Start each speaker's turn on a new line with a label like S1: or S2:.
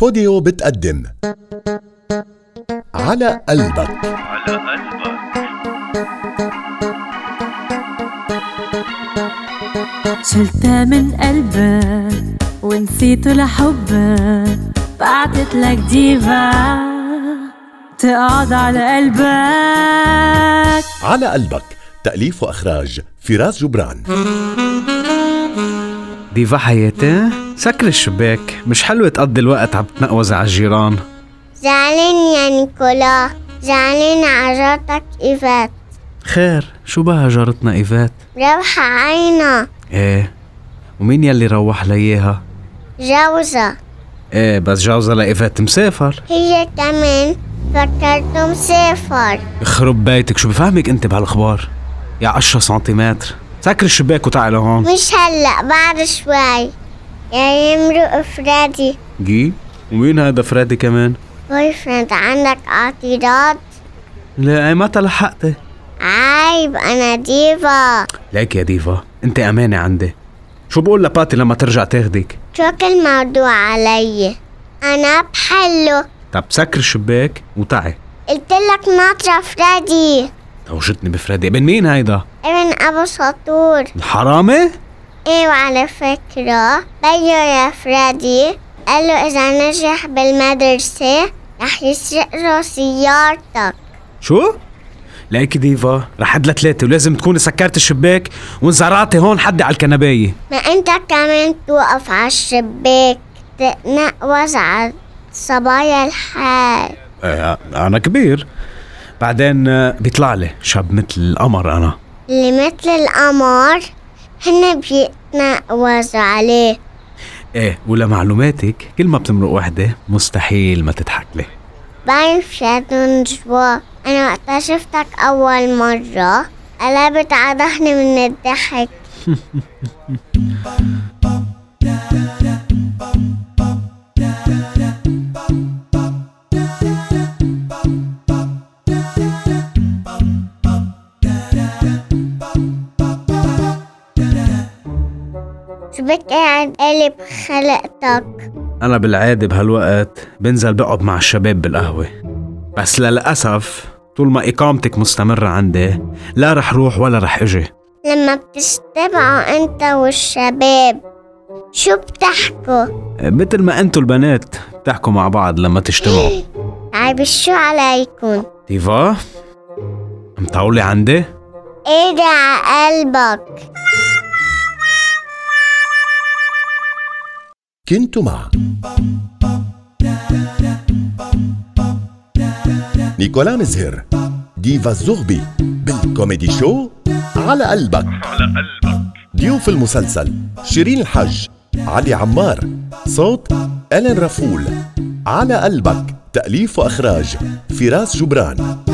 S1: بوديو بتقدم على قلبك
S2: على قلبك
S3: شلته من قلبك ونسيته لحبك بعتت لك ديفا تقعد على قلبك
S1: على قلبك تأليف وإخراج فراس جبران
S4: ديفا حياتي سكر الشباك مش حلوة تقضي الوقت عم تنقوز على الجيران
S5: زعلان يا نيكولا زعلان على جارتك إيفات
S4: خير شو بها جارتنا إيفات
S5: ربح عينا
S4: ايه ومين يلي روح ليها
S5: جوزة
S4: ايه بس جوزها لإيفات مسافر
S5: هي كمان فكرته مسافر
S4: يخرب بيتك شو بفهمك انت بهالاخبار يا 10 سنتيمتر سكر الشباك وتعال لهون
S5: مش هلأ بعد شوي يا يمرق فريدي
S4: جي ومين هذا فريدي كمان
S5: بوي فريند عندك اعتراض
S4: لا إيه، متى لحقتي
S5: عيب أنا ديفا
S4: ليك يا ديفا انت امانة عندي شو بقول لباتي لما ترجع تاخدك
S5: شوك الموضوع علي أنا بحله
S4: طب سكر الشباك وتعي
S5: قلتلك ناطرة فريدي
S4: توجتني بفريدي ابن مين هيدا
S5: ابن أبو سطور
S4: الحرامي
S5: ايه وعلى فكرة بيو يا فريدي قال له إذا نجح بالمدرسة رح يسرق له سيارتك
S4: شو؟ ليك ديفا رح عد لثلاثة ولازم تكوني سكرت الشباك وانزرعتي هون حدي على الكنباية
S5: ما أنت كمان توقف على الشباك تتنقوز على صبايا الحال
S4: آه أنا كبير بعدين آه، بيطلع لي شاب مثل القمر أنا
S5: اللي مثل القمر هن بيتنقوز عليه
S4: إيه ولمعلوماتك كل ما بتمرق وحدة مستحيل ما تضحك لي
S5: باين فريدون جوا أنا وقتا شفتك أول مرة قلبت على ضهري من الضحك شو بك قاعد قالب خلقتك
S4: أنا بالعادة بهالوقت بنزل بقعد مع الشباب بالقهوة بس للأسف طول ما إقامتك مستمرة عندي لا رح روح ولا رح إجي
S5: لما بتجتمعوا انت والشباب شو بتحكوا
S4: آه، مثل ما انتو البنات بتحكوا مع بعض لما تجتمعوا
S5: عيب طيب، شو عليكم
S4: ديفا مطولة عندي؟
S5: ايه ده على قلبك
S1: كنت مع نيكولا مزهر ديفا الزغبي بالكوميدي شو على قلبك
S2: على قلبك
S1: ضيوف المسلسل شيرين الحج علي عمار صوت ألين رفول على قلبك تأليف وإخراج فراس جبران